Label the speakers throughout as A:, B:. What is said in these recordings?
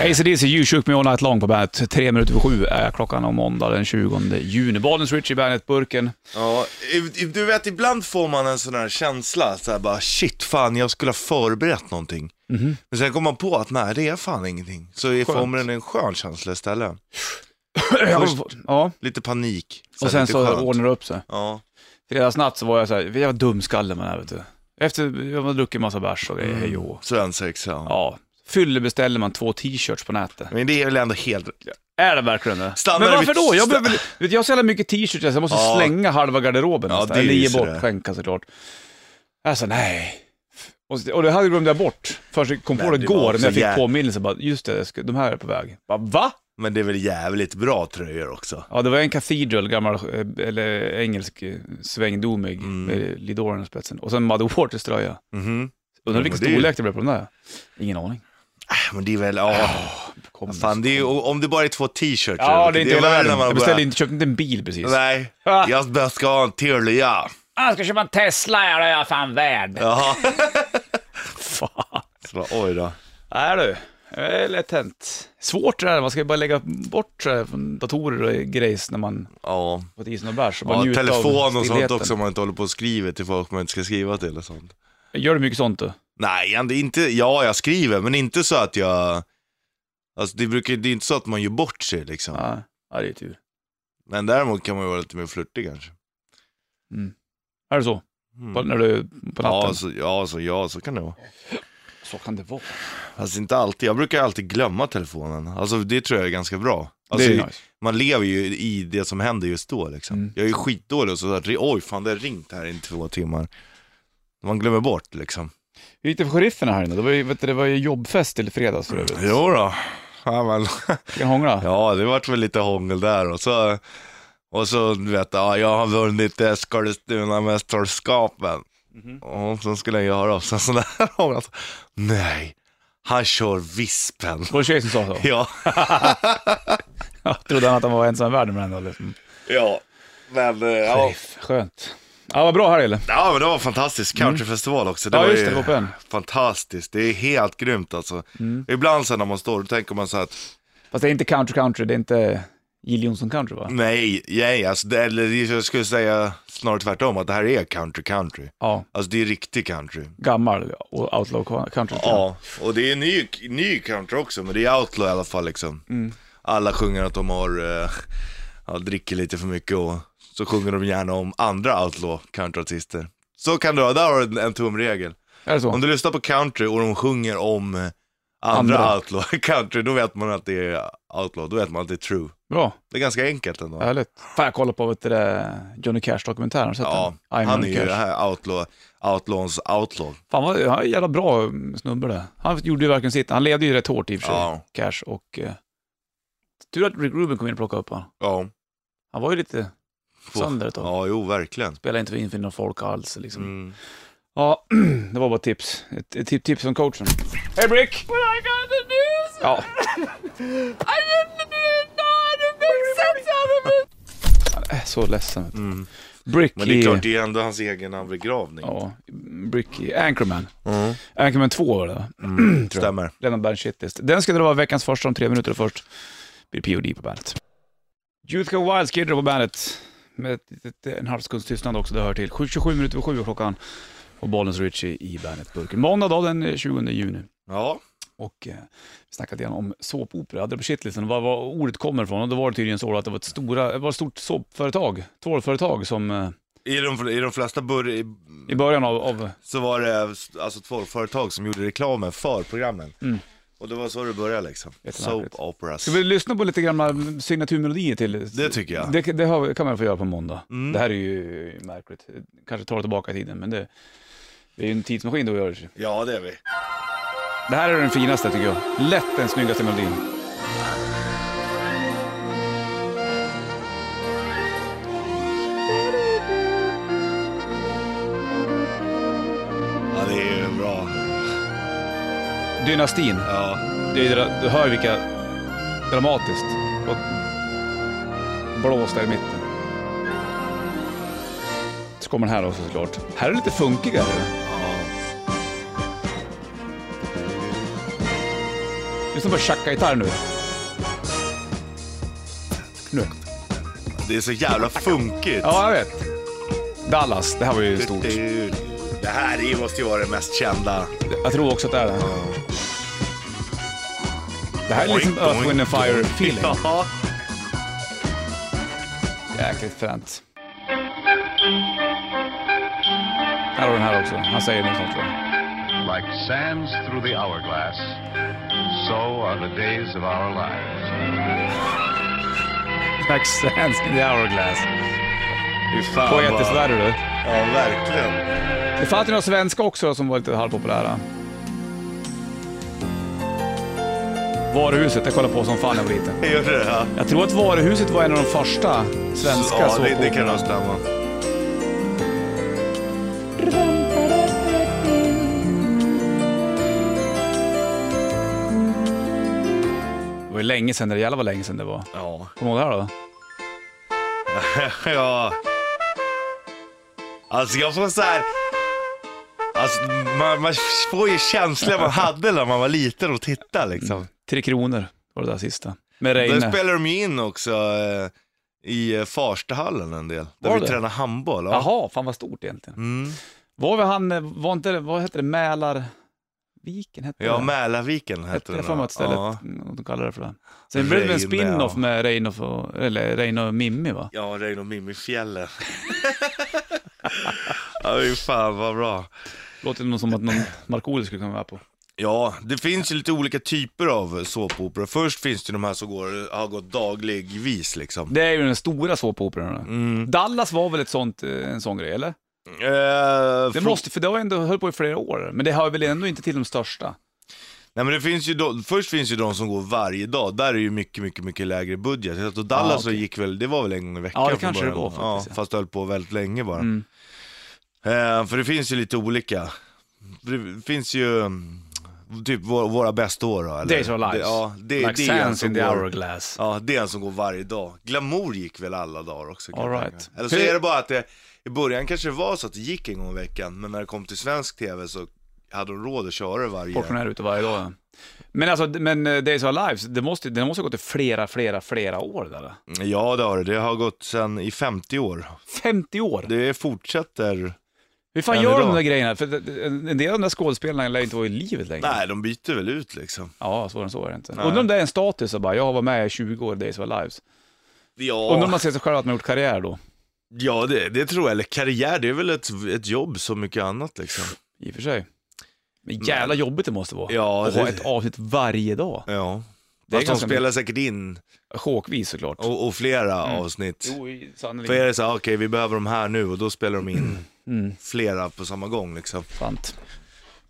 A: ACDC U-Shook med All Night Long på bandet. Tre minuter över sju är klockan om måndag den 20 juni. Bollens Richie Bandet-burken.
B: Ja, i- i- du vet ibland får man en sån här känsla, så här bara shit fan jag skulle ha förberett någonting.
A: Mhm.
B: Men sen kommer man på att nej det är fan ingenting. Så är- får man en skön känsla istället. Först-
A: Ja,
B: Lite panik.
A: och sen
B: lite
A: så
B: skönt.
A: ordnar det upp sig.
B: Ja,
A: Fredagsnatt så var jag så här, jag var dumskalle med det här vet du. Efter, jag hade druckit massa bärs och grejer,
B: Mm.
A: hej och
B: svensexa. Ja.
A: Ja, fyller beställer man två t-shirts på nätet.
B: Men det är väl ändå helt...
A: Är det verkligen det?
B: Stannar
A: Men
B: det
A: varför
B: vid-
A: då? Jag, behöver, vet, jag har så jävla mycket t-shirts, jag måste
B: Ja.
A: slänga halva garderoben
B: Ja,
A: nästan.
B: det är
A: Eller
B: ju
A: ge
B: så
A: bort,
B: det.
A: skänka såklart. Alltså nej. Och, och det hade glömde jag bort. Först jag kom på
B: Men
A: det
B: det var
A: igår
B: också
A: när jag fick
B: jä-
A: påminnelse. Bara, just det, jag ska, de här är på väg. Bara, va?
B: Men det är väl jävligt bra tröjor också.
A: Ja, det var en Cathedral, gammal, eh, eller engelsk, eh, svängdomig,
B: Mm.
A: med Lidoren i spetsen. Och sen Muddy Waters tröja.
B: Mhm.
A: Undrar
B: men
A: vilken
B: det är ju-
A: storlek det blev på de där. Ingen aning.
B: Äh, Men det är väl, ja.
A: Kom.
B: Fan, det är ju, om det bara är två t-shirts.
A: Äh, Ja, det är inte hela
B: värre
A: världen.
B: när man
A: Jag Ah. beställde
B: börjar-
A: inte, köpte inte en bil precis.
B: Nej, jag bara ska ha en till, ja.
A: Jag Ah, ska köpa en Tesla, ja, det är jag fan värd.
B: Jaha.
A: Fan.
B: Så bara, oj då.
A: Nej du, det är lätt hänt. Svårt det där, man ska ju bara lägga bort så här från datorer och grejs när man
B: Ja.
A: fått i sig någon bärs och bara
B: Ja,
A: njuta av
B: telefon och sånt
A: stillheten.
B: också om man inte håller på och skriver till folk man inte ska skriva till och sånt.
A: Gör du mycket sånt du?
B: Nej, jag- det är inte, ja jag skriver men inte så att jag, alltså det, brukar, det är inte så att man gör bort sig liksom.
A: Ja, ja det är tur.
B: Men däremot kan man ju vara lite mer flörtig kanske.
A: Mm.
B: Hmm.
A: Är det så? På, när du, på natten?
B: Mm. Ja så, ja, så, ja, så kan det vara.
A: så kan det vara.
B: Fast inte alltid, jag brukar alltid glömma telefonen. Alltså det tror jag är ganska bra. Alltså,
A: det är nice. Mm.
B: Man lever ju i det som händer just då liksom. Jag är ju skitdålig och så att, oj fan det har ringt här i två timmar. Man glömmer bort liksom.
A: Hur gick det för sherifferna här inne? Det var ju, vet du, det var ju jobbfest till fredags för övrigt.
B: Jo då. Ja, men.
A: Fick han hångla?
B: Ja, det vart väl lite hångel där och så, och så du vet ja, jag har vunnit eh, Skarlestuna-mästerskapen.
A: Mhm.
B: Och så skulle jag göra och sen så där hångel. Alltså, nej, han kör vispen.
A: Var det tjejen som sa så?
B: Ja,
A: Jag trodde han att han var ensam i världen med den då liksom.
B: ja, men eh, ja.
A: Skönt. Ja, vad bra här eller?
B: ja men det var fantastiskt. Countryfestival också.
A: Mm. Ja,
B: var
A: just det,
B: ju
A: det var på Mm. en.
B: Fantastiskt, det är helt grymt alltså. Ibland sen när man står, då tänker man så här att
A: Fast det är inte country country, det är inte Jill Johnson country
B: Mm.
A: va?
B: nej, nej, alltså, det, eller jag skulle säga snarare tvärtom, att det här är country country.
A: Ja,
B: Alltså det är riktig country.
A: gammal och outlaw country.
B: Ja, och det är ny, ny country också, men det är outlaw i alla fall liksom. Alla sjunger att de har, eh, ja, dricker lite för mycket och så sjunger de gärna om andra outlaw countryartister. Så kan du ha, där har du en, en tumregel.
A: Är det så?
B: Om du lyssnar på country och de sjunger om eh, andra,
A: Andra.
B: outlaw country, då vet man att det är outlaw, då vet man att det är true.
A: Bra,
B: Det är ganska enkelt ändå.
A: härligt. Fan, jag kollar på vet du, det, Johnny Cash-dokumentären. Har du sett
B: Ja,
A: den? I'm
B: han
A: Johnny
B: är ju
A: Cash.
B: det här outlaw, outlawns outlaw.
A: Fan, vad, han är en jävla bra snubbe det. Han gjorde ju verkligen sitt. Han levde ju rätt hårt i och för sig,
B: Ja.
A: Cash. Och, eh, tur att Rick Rubin kom in och plockade upp honom.
B: Ja.
A: Han var ju lite sönder ett tag.
B: Ja, jo, verkligen.
A: Spelade inte in för någon folk alls liksom.
B: Mm.
A: Ja, det var bara tips. Ett, ett tip- tips från coachen. Hej Brick!
C: But I got the news.
A: Ja,
C: I didn't, didn't know how to make sense out of it.
A: jag är så ledsen. vet du. Brick
B: Mm. Men det är
A: i-
B: klart, det är ändå hans egen begravning.
A: Ja, Bricky. Anchorman.
B: Mm.
A: Anchorman 2 var det va? tror jag.
B: Stämmer.
A: Lennart Berns shitlist. Den ska dra vara veckans första om tre minuter och först blir det POD på bandet. Youth Go Wild Skid Row på bandet. Med ett, litet- en halv sekunds tystnad också, det hör till. 7.27 minuter över sju är klockan. Och Bollens Richie i Bandet-burken. Måndag då, den eh, 20 juni.
B: Ja.
A: Och eh, vi snackade igen om såpopera. Jag hade det på shitlisten vad, vad ordet kommer ifrån. Och då var det tydligen så då att det var ett, stora, det var ett stort såpföretag, tvålföretag som eh,
B: I de, I de flesta bur
A: i början av, av
B: så var det alltså två företag som gjorde reklamen för programmen. Och det var så det började liksom. Soap
A: Mm. Jättemärkligt.
B: operas.
A: Ska vi lyssna på lite gamla signaturmelodier till?
B: Det tycker jag. Mm.
A: Det, det har, kan man få göra på måndag. Det här är ju märkligt. Kanske tar det tillbaka i tiden, men det, det är ju en tidsmaskin då gör det.
B: Ja, det är vi.
A: Det här är den finaste tycker jag. Lätt den snyggaste melodin.
B: Ja, det är ju bra.
A: Dynastin.
B: Ja.
A: Det är, dra- du hör ju vilka dramatiskt och blås där i mitten. Så kommer den här också såklart. Här är lite funkigare. Lyssna på Chaka-gitarr nu. Nu.
B: Det är så jävla funkigt.
A: Ja, jag vet. Dallas, det här var ju stort.
B: Det här är- måste ju vara det mest kända.
A: Jag tror också att det är det. Det här är liksom
B: Oink,
A: Earth, Wind and
B: oink, oink.
A: Fire-feeling.
B: Ja.
A: Jäkligt fränt. Här har du den här också. Han säger något sånt tror jag.
D: Like sands through the hourglass, so are the days of our lives.
A: Like sands in the hourglass.
B: Fy fan
A: Poetiskt
B: vad-
A: där du.
B: Ja, verkligen.
A: Det fanns ju några svenska också som var lite halvpopulära. Varuhuset, jag kollade på som fan när jag var liten.
B: Gör du det? Ja,
A: Jag tror att Varuhuset var en av de första svenska
B: ja det, det
A: såpoperorna.
B: kan nog stämma.
A: Det var ju länge sedan, det jävla var länge sedan det var.
B: Ja.
A: Kommer du ihåg det här då?
B: ja. Alltså jag får så här... Alltså, man, man får ju känslan man hade när man var liten och tittade liksom.
A: Tre Kronor var det där sista. Med
B: Där
A: Reine.
B: spelar de ju in också eh, i eh, Farstahallen en del. Där
A: Var
B: vi
A: det?
B: tränar handboll. Ja.
A: Jaha, fan vad stort egentligen.
B: Mm.
A: Var vi han, eh, var inte det, vad hette det, Mälarviken hette
B: Ja,
A: det?
B: Mälarviken hette
A: Hette det
B: den.
A: för mig
B: va?
A: att stället,
B: Ja.
A: mm, de kallar det för det. Sen blev det en
B: Reine,
A: spin-off
B: ja.
A: med Reine och, eller Reine och Mimmi va?
B: Ja, Reino Mimmi-fjällen. ja, fy fan vad bra.
A: Låter det som att någon Markoolio skulle kunna vara på.
B: Ja, det finns ju lite olika typer av såpopera. Först finns det de här som går, har gått dagligvis liksom.
A: Det är ju den stora såpoperorna.
B: Mm.
A: Dallas var väl ett sånt, eh, en sån grej, eller?
B: Eh,
A: Det
B: från-
A: måste, för det har ändå höll på i flera år, men det hör väl ändå inte till de största.
B: Nej men det finns ju de, först finns ju de som går varje dag, där är ju mycket, mycket, mycket lägre budget. Jag tror Dallas
A: Ja, Ah, okej.
B: så gick väl, det var väl en gång i veckan
A: Ja, det
B: från
A: kanske det
B: början.
A: var faktiskt,
B: Ja,
A: ja.
B: fast det höll på väldigt länge bara.
A: Mm.
B: Eh, för det finns ju lite olika. För Det finns ju mm, typ vår, våra bästa år då, eller?
A: Days of Lives.
B: Det, ja, det,
A: like
B: det är alltså en
A: sands
B: som
A: in the
B: går-
A: hourglass.
B: Ja, det är en som går varje dag. Glamour gick väl alla dagar också kan
A: All
B: jag
A: right.
B: tänka mig. Eller så
A: Hur-
B: är det bara att det, i början kanske det var så att det gick en gång i veckan, men när det kom till svensk tv så hade de råd att köra det varje...
A: Portionär ute varje dag. ja. Men alltså, men eh, Days of Our Lives, det måste, det måste ha gått i flera, flera, flera år där.
B: Ja det har det, det har gått sedan i 50 år.
A: 50 år!
B: Det fortsätter...
A: Hur fan
B: än
A: gör de
B: idag.
A: de där grejerna? För det- det- en en del av de där skådespelarna lär ju inte vara i livet längre.
B: Nej, de byter väl ut liksom.
A: Ja, svårare än så är det inte.
B: Nej.
A: Undrar om det är en status att bara, jag har varit med i 20 år i Days of Our Lives. Undrar om
B: Ja,
A: man ser sig själv att man gjort karriär då.
B: ja det, det tror jag. Eller karriär, det är väl ett, ett jobb som mycket annat liksom.
A: I och för sig. Men jävla jobbigt det måste vara.
B: Ja,
A: att ha
B: det-
A: ett avsnitt varje dag.
B: Ja.
A: Det är
B: Fast de
A: ganska
B: spelar säkert in,
A: Chockvis såklart.
B: och, och flera avsnitt.
A: Mm. Jo,
B: Oh. För är
A: sannerligen.
B: det så här, okej vi behöver de här nu och då spelar de in flera på samma gång liksom.
A: Mm, Sant.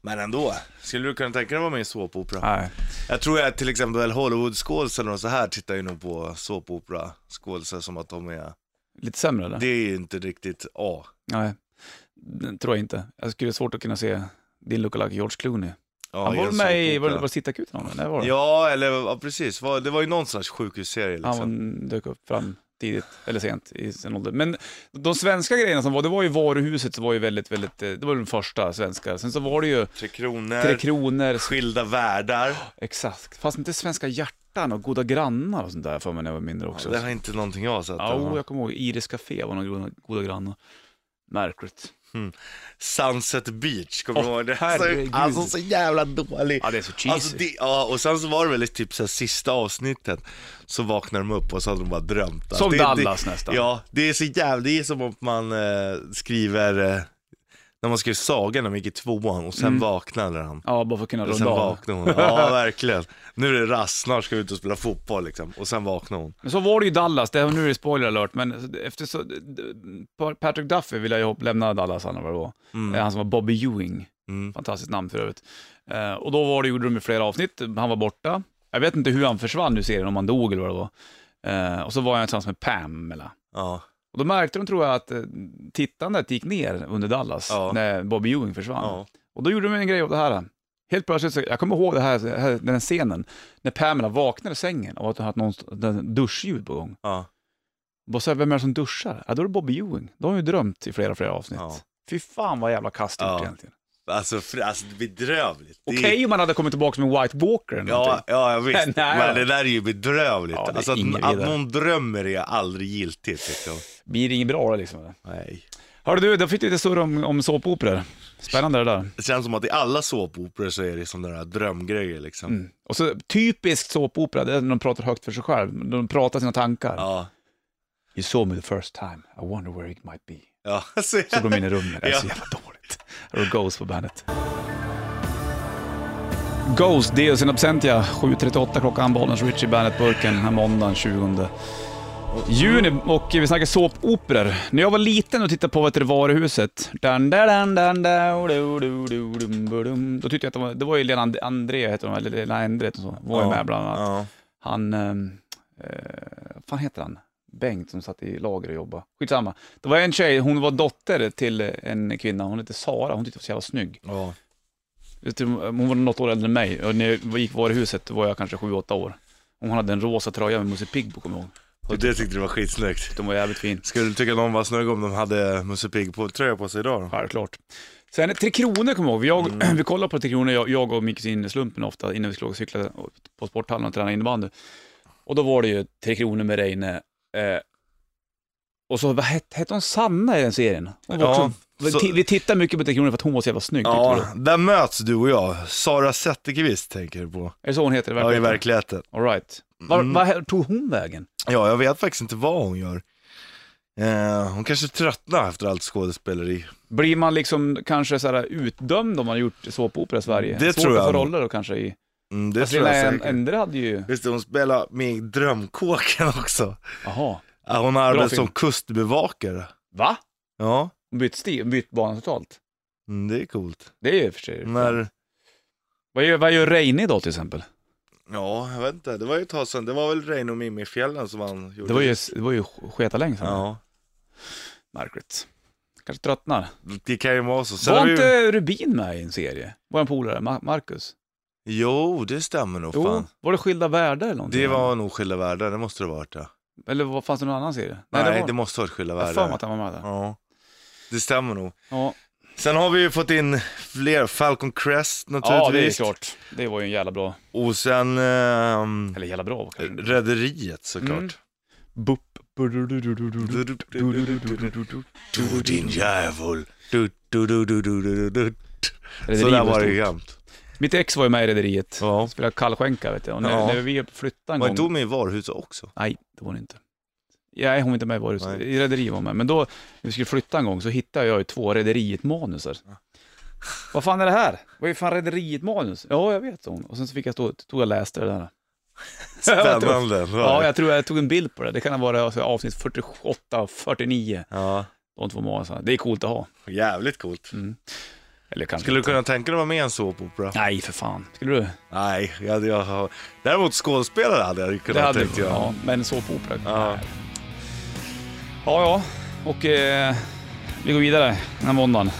B: Men ändå, skulle du kunna tänka dig att vara med i såpopera?
A: Nej.
B: Jag tror att till exempel Hollywood-skådisar och så här tittar ju nog på såpopera-skådisar som att de är,
A: Lite sämre eller?
B: det är ju inte riktigt A.
A: Nej, det tror jag inte. Jag skulle ha svårt att kunna se din lookalike George Clooney.
B: Ja,
A: han var
B: en
A: väl med i, var
B: såpopera.
A: det, var det Sittakuten? han var? Nej, var det?
B: Ja, eller ja, precis. Var- Det var ju någon slags sjukhusserie
A: Han
B: liksom.
A: var- dök upp fram tidigt, eller sent, i sin ålder. Men de svenska grejerna som var, det var ju Varuhuset, som var ju väldigt, väldigt, eh, det var den första svenska. Sen så var det ju
B: Tre Kronor,
A: Tre Kronor,
B: Skilda Världar.
A: exakt. Fast inte Svenska Hjärtan och Goda Grannar och sånt där för mig när jag var mindre också.
B: Den har inte någonting jag har sett.
A: Ja, oh,
B: den.
A: jag kommer ihåg Iris Café var någon goda, goda grannar. Märkligt.
B: Sunset Beach, kommer du
A: Åh,
B: ihåg det?
A: herregud.
B: Alltså så jävla dålig.
A: Ja, det är så cheesy.
B: Alltså, det, ja, och sen så var det väl typ så här, sista avsnittet, så vaknade de upp och så hade de bara drömt. Alltså,
A: Som
B: det,
A: Dallas
B: det,
A: nästan.
B: Ja, det är så jävla, det är som om man eh, skriver, eh, när man skrev sagan när man gick i tvåan och sen
A: Mm.
B: vaknade han.
A: Ja, bara för att kunna
B: Och sen
A: runda av.
B: vaknade hon. Ja, verkligen. Nu är det rast, snart ska vi ut och spela fotboll liksom. Och sen vaknade hon.
A: Men så var det ju i Dallas, det, här- nu är det spoiler alert, men efter så, Patrick Duffy ville jag ju hopp- lämna Dallas, han eller vad det var. Eh, Han som var Bobby Ewing,
B: Mm.
A: fantastiskt namn för övrigt. Eh, och då var det, gjorde de ju flera avsnitt, han var borta. Jag vet inte hur han försvann ur serien, om han dog eller vad det var. Eh, och så var han tillsammans med Pamela.
B: Ja.
A: Och då märkte de, tror jag, att eh, tittandet gick ner under Dallas,
B: Ja.
A: när Bobby Ewing försvann.
B: Ja.
A: Och då gjorde de en grej av det här. Helt plötsligt, så, jag kommer ihåg det här, här, den här scenen, när Pamela vaknade i sängen av att hon hade någon den- duschljud på gång.
B: Ja.
A: Vad säger vem är det som duschar? Ja, då är det Bobby Ewing. Då har hon ju drömt i flera, flera avsnitt.
B: Ja.
A: Fy fan vad jävla kast gjort
B: Ja.
A: egentligen.
B: Alltså, fr- alltså bedrövligt. Det är-
A: Okej om man hade kommit tillbaka som en White Walker eller
B: Ja,
A: någonting.
B: ja, jag visst.
A: Nej, ja.
B: Men det där är ju bedrövligt.
A: Ja, det är
B: alltså
A: inget
B: att, att
A: vidare.
B: någon drömmer är aldrig giltigt liksom.
A: Blir det inget bra liksom? eller?
B: Nej.
A: Hörru du, då fick du lite surr om, om såpoperor. Spännande det där.
B: Det känns som att i alla såpoperor så är det som den här drömgrejer liksom.
A: Och så typiskt såpopera, det är när de pratar högt för sig själv. De pratar sina tankar.
B: Ja.
A: You saw me the first time, I wonder where it might be.
B: Ja, alltså,
A: Så går de in i rummet, det är så
B: Ja.
A: jävla dåligt. Här har Ghost på bandet. Ghost, Deus in absentia, 7.38 klockan, Bollnäs Richie bandet burken den här måndagen 20 juni. Och vi snackar såpoperor. När jag var liten och tittade på vad heter det, Varuhuset, dun, dun, dun, dun, dun, du, du, du, dum, bu, dum. då tyckte jag att det var, det var ju Lena And- André, heter hon, eller Lena Endre heter hon så, var ju
B: Ja.
A: med bland annat.
B: Ja.
A: Han, ehm, eh, vad fan heter han? Bengt som satt i lager och jobbade. Skitsamma. Det var en tjej, hon var dotter till en kvinna, hon hette Sara, hon tyckte jag var så jävla snygg.
B: Ja.
A: Vet du, Hon var något år äldre än mig och när jag gick var i huset var jag kanske 7-8 år. Hon hade en rosa tröja med Musse Pigg på, kommer jag ihåg.
B: Och det tyckte du var skitsnyggt.
A: Den var jävligt fin.
B: Skulle du tycka någon var snygg om de hade Musse Pigg på tröja på sig idag då?
A: Självklart. Sen Tre Kronor kommer jag ihåg. Jag,
B: Mm.
A: Vi kollade på Tre Kronor, jag, jag och min kusin Slumpen ofta innan vi skulle åka och cykla på sporthallen och träna innebandy. Och då var det ju Tre Kronor med Reine. Eh, och så, vad hette, hette hon Sanna i den serien? Hon var
B: Ja,
A: också, vi
B: så-
A: ti- Vi tittade mycket på Tre Kronor för att hon var så jävla snygg. tyckte
B: Ja, där möts du och jag. Sara Zetterqvist tänker du på.
A: vi. Är det så hon heter i
B: Ja, i
A: verkligheten?
B: verkligheten.
A: All right. Var,
B: Mm.
A: var tog hon vägen?
B: Ja, jag vet faktiskt inte vad hon gör. Eh, hon kanske tröttnar efter allt skådespeleri.
A: Blir man liksom kanske så här utdömd om man har gjort såpopera i Sverige?
B: Det
A: Svårt
B: tror
A: att få
B: jag.
A: roller då kanske i...
B: Mm, det
A: Fast
B: tror
A: Lena
B: jag
A: Ä-
B: säkert.
A: Endre hade ju...
B: Visst, hon spelar med i Drömkåken också.
A: Jaha.
B: Ja, Hon har arbetat
A: film.
B: som kustbevakare.
A: Va?
B: Ja,
A: Hon bytt stil, bytt bana totalt.
B: mm, det är coolt.
A: Det är ju i och för sig
B: När,
A: vad, gör, vad gör Reine idag till exempel?
B: ja, jag vet inte. Det var ju ett tag sedan. Det var väl Reino Mimifjällen som han gjorde.
A: Det var ju, det var ju sketa länge sedan.
B: Ja,
A: Märkligt. Kanske tröttnar.
B: det kan ju vara så. Sen har
A: var
B: vi ju...
A: inte Rubin med i en serie? Vår polare, Ma- Marcus?
B: Jo, det stämmer nog fan.
A: Var det Skilda Världar eller någonting?
B: Det var nog Skilda Världar, det måste det ha varit det.
A: Eller vad- fanns det någon annan serie?
B: Nej, det,
A: var...
B: måste ha varit Skilda
A: Jag har för mig
B: Världar.
A: att han var med där.
B: Ja, det stämmer nog.
A: Ja,
B: Sen har vi ju fått in fler, Falcon Crest
A: ja det är
B: naturligtvis.
A: klart. Det var ju en jävla bra,
B: Och sen ehm,
A: eller jävla bra kanske. inte.
B: Rederiet
A: Mm.
B: såklart.
A: Bup.
B: Du din djävul. Du, du, du, du, du, du, du.
A: Rederiet
B: Så där var det
A: stort.
B: ju jämt.
A: Mitt ex var ju med i Rederiet.
B: Ja.
A: Spelade kallskänka vet jag. Och när,
B: Ja.
A: när vi flyttade en
B: Var
A: gång.
B: inte hon med i Varhuset också?
A: Nej, det var hon inte. Nej, hon var inte med i Varus.
B: Nej.
A: I Rederi var hon med. Men då, när vi skulle flytta en gång, så hittade jag ju två Rederiet-manusar. Vad fan är det här? Vad är fan Rederiet-manus? Ja, jag vet, sa hon. Och sen så fick jag stå, tog jag och läste det där. jag tror-
B: Spännande.
A: Ja, jag tror jag tog en bild på det. Det kan ha varit alltså, avsnitt 48 och 49.
B: ja.
A: De två manusarna. Det är coolt att ha.
B: Jävligt coolt.
A: Eller kanske
B: Skulle du
A: inte.
B: kunna tänka dig att vara med i en såpopera?
A: Nej, för fan. Skulle du?
B: Nej, jag, jag, har- däremot skådespelare hade jag ju kunnat tänkt jag.
A: Ja, men så på opera.
B: Ja.
A: Ja, ja. Och eh, vi går vidare den här måndagen.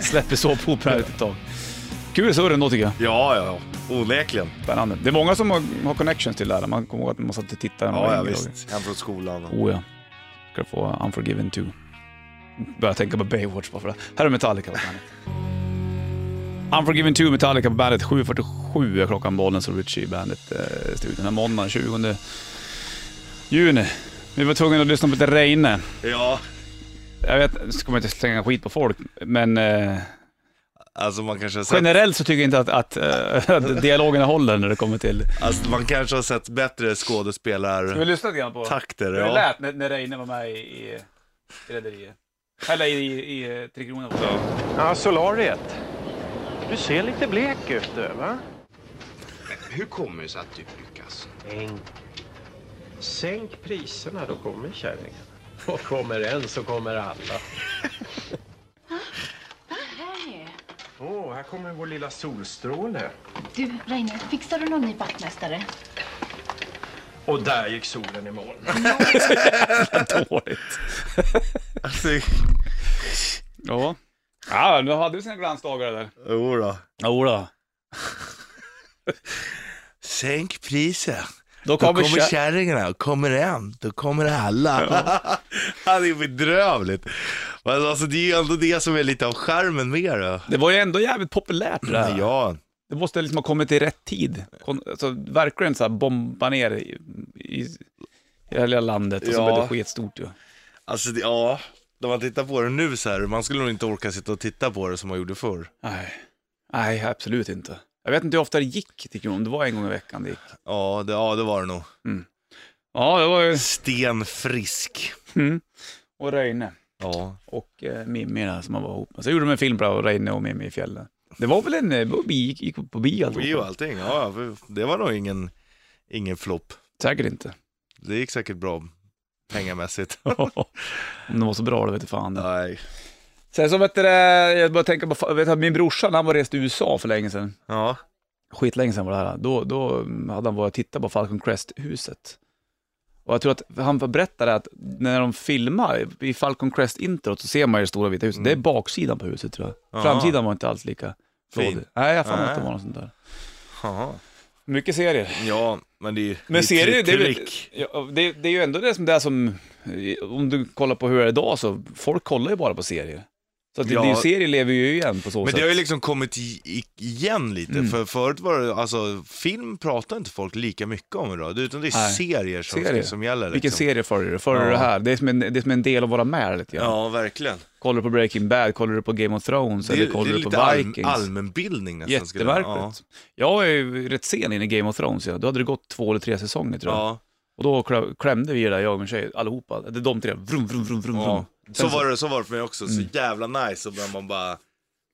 A: Släpper såpopera ut ett tag. Kul surr ändå tycker jag.
B: Ja, ja, ja. onekligen.
A: Spännande. Det är många som har, har connections till det här. Man kommer ihåg att man satt och tittade. när man
B: Ja,
A: var
B: ja
A: yngre.
B: visst. Hem från skolan.
A: Oh ja. Ska du få Unforgiven 2. Börjar tänka på Baywatch bara för det. Här är Metallica på bandet. Unforgiven 2 Metallica på bandet. 7.47 är klockan. Bollen så Richie i bandet eh, studion den här måndagen 20 juni. Vi var tvungna att lyssna på lite Reine.
B: Ja,
A: Jag vet, nu kommer jag inte slänga skit på folk, men eh,
B: alltså man kanske har sett,
A: generellt så tycker jag inte att, att, eh, att dialogerna håller när det kommer till...
B: alltså, man kanske har sett bättre
A: Ska vi
B: skådespelartakter.
A: lyssna lite grann på hur det
B: Ja.
A: lät när, när Reine var med i, i Rederiet? Eller i, i, i eh, Tre Kronor.
E: Ja, solariet. Du ser lite blek ut du, va?
F: Hur kommer det sig att du lyckas?
E: Enkelt. Sänk priserna, då kommer kärringen. Och kommer en så kommer alla. Åh, här kommer vår lilla solstråle.
G: Du, Reine, fixar du någon ny vaktmästare?
E: Och där gick solen i moln.
A: Dåligt.
B: Alltså,
A: Ja. Ja, nu hade du sina glansdagar där.
B: jo då.
A: Jodå.
B: Sänk priset.
A: Då
B: Då
A: kommer,
B: kommer
A: kommer
B: kärringarna, och kommer en, då kommer alla. Ja. det är bedrövligt. Men alltså, det är ju ändå det som är lite av skärmen med det.
A: Det var ju ändå jävligt populärt det där.
B: Ja,
A: Det måste liksom ha kommit i rätt tid. Kon- Alltså, verkligen så här bomba ner i, i, i hela landet och så
B: Ja.
A: blev det skitstort ju.
B: alltså det, ja. När man tittar på det nu så här, man skulle nog inte orka sitta och titta på det som man gjorde förr.
A: Nej. Nej, absolut inte. Jag vet inte hur ofta det gick till Kron, det var en gång i veckan det gick.
B: Ja, det, ja, det var det nog.
A: Ja, det var ju... Mm.
B: Stenfrisk.
A: Och Röjne
B: Ja.
A: och eh, Mimmi där som man var ihop med. Så gjorde de en film på det, och Röjne och Mimmi i fjällen. Det var väl en... eh, Bio, gick, gick på alltså. bio
B: Och
A: alltihopa?
B: ju allting. Ja, för det var nog ingen, ingen flopp.
A: Säkert inte.
B: Det gick säkert bra pengamässigt.
A: Om det var så bra, det vet jag fan.
B: Nej.
A: Sen så vet du, det, jag bara tänker på, fa- vet du, min brorsa när han var rest i USA för länge sedan,
B: Ja.
A: skitlänge sedan var det här, då, då mm, hade han varit och tittat på Falcon Crest-huset. Och jag tror att han berättade att när de filmar i Falcon Crest-introt så ser man ju det stora vita huset. Det är baksidan på huset tror jag.
B: Jaha.
A: Framsidan var inte alls lika
B: Fin.
A: flådig. Nej, jag fan att det
B: Nej.
A: var något sånt där.
B: Jaha.
A: Mycket serier.
B: Ja, men det är ju...
A: Men serier, det,
B: är
A: är-
B: trick.
A: ja, det, det är ju ändå det som, det är som, om du kollar på hur det är idag så, folk kollar ju bara på serier. Så att det,
B: Ja.
A: det är ju- serier lever ju igen på så
B: Men
A: sätt.
B: det har ju liksom kommit i- i- igen lite, för förut var det, alltså film pratar inte folk lika mycket om idag, utan det är
A: Nej.
B: serier som,
A: Serier.
B: som gäller. Liksom.
A: Vilken serie följer du? Följer du
B: Ja.
A: det här? Det är, som en, det är som en del av våra med lite grann.
B: Ja, verkligen.
A: Kollar du på Breaking Bad, kollar du på Game of Thrones
B: Det,
A: eller
B: är-
A: kollar
B: det är
A: du på
B: lite all,
A: Vikings?
B: allmänbildning nästan. skulle jag-
A: Jätteverkligt. Jag är ju rätt sen in i Game of Thrones, ja. då hade det gått två eller tre säsonger tror jag.
B: Ja.
A: Och då klä- klämde vi där, jag och min tjej, allihopa. Det är de tre, vrum, vrum, vrum, vrum.
B: Ja.
A: vrum.
B: ja. Så Mm.
A: Sen
B: var det, så var det för mig också, så jävla nice, och bara man bara,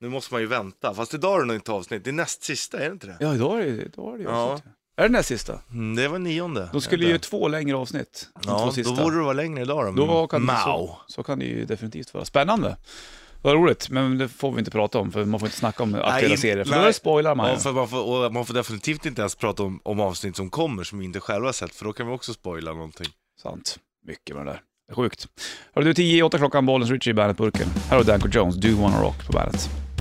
B: nu måste man ju vänta. Fast idag är det nog inte avsnitt, det är näst sista, är det inte det?
A: Ja, då är det då är det ju
B: Ja.
A: avsnitt. Är det den här sista?
B: Mm, det var nionde.
A: De skulle ju
B: Vänta.
A: göra två längre avsnitt. de två
B: Ja,
A: sista.
B: då borde det vara längre idag då.
A: Då kan det,
B: Mao.
A: så, så kan det ju definitivt vara. Spännande. Vad roligt, men det får vi inte prata om för man får inte snacka om aktuella
B: in-
A: serier för
B: nej.
A: då spoilar man
B: Ja,
A: ju.
B: för man, får, och man får definitivt inte ens prata om, om avsnitt som kommer som vi inte själva har sett, för då kan vi också spoila någonting.
A: Sant. Mycket med det där. Det är Sjukt. Hörru du, 10 i 8 klockan, Bollens Richie i bandet-burken. Här har du Danko Jones, Do You Wanna Rock på bandet.